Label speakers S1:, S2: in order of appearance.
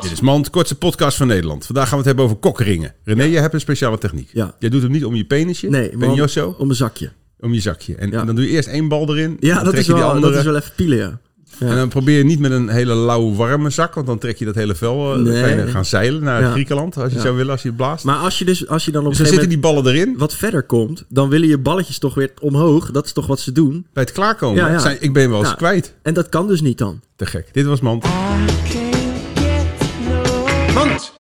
S1: Dit is Mand, kortste podcast van Nederland. Vandaag gaan we het hebben over kokringen. René, jij hebt een speciale techniek.
S2: Ja.
S1: Jij doet hem niet om je penisje,
S2: Nee, maar om,
S1: penjosso,
S2: om een zakje.
S1: om je zakje. En,
S2: Ja.
S1: en dan doe je eerst één bal erin.
S2: Ja,
S1: dan
S2: dat
S1: trek
S2: is,
S1: je die
S2: wel, dat
S1: andere.
S2: is wel even pielen, ja.
S1: En dan probeer je niet met een hele lauwe warme zak, want dan trek je dat hele vel. eh, dan
S2: Nee.
S1: kan je gaan zeilen naar
S2: Ja.
S1: Griekenland, als je
S2: Ja.
S1: zou willen, als je het blaast.
S2: Maar als je, dus, als je dan op
S1: dus
S2: een
S1: dan
S2: gegeven
S1: zitten
S2: moment
S1: die ballen erin.
S2: wat verder komt, dan willen je balletjes toch weer omhoog. Dat is toch wat ze doen.
S1: Bij het klaarkomen.
S2: Ja, ja.
S1: Zijn, ik ben wel eens
S2: Ja.
S1: kwijt.
S2: En dat kan dus niet dan.
S1: Te gek. Dit was Mand.
S3: can't get no
S1: Mand!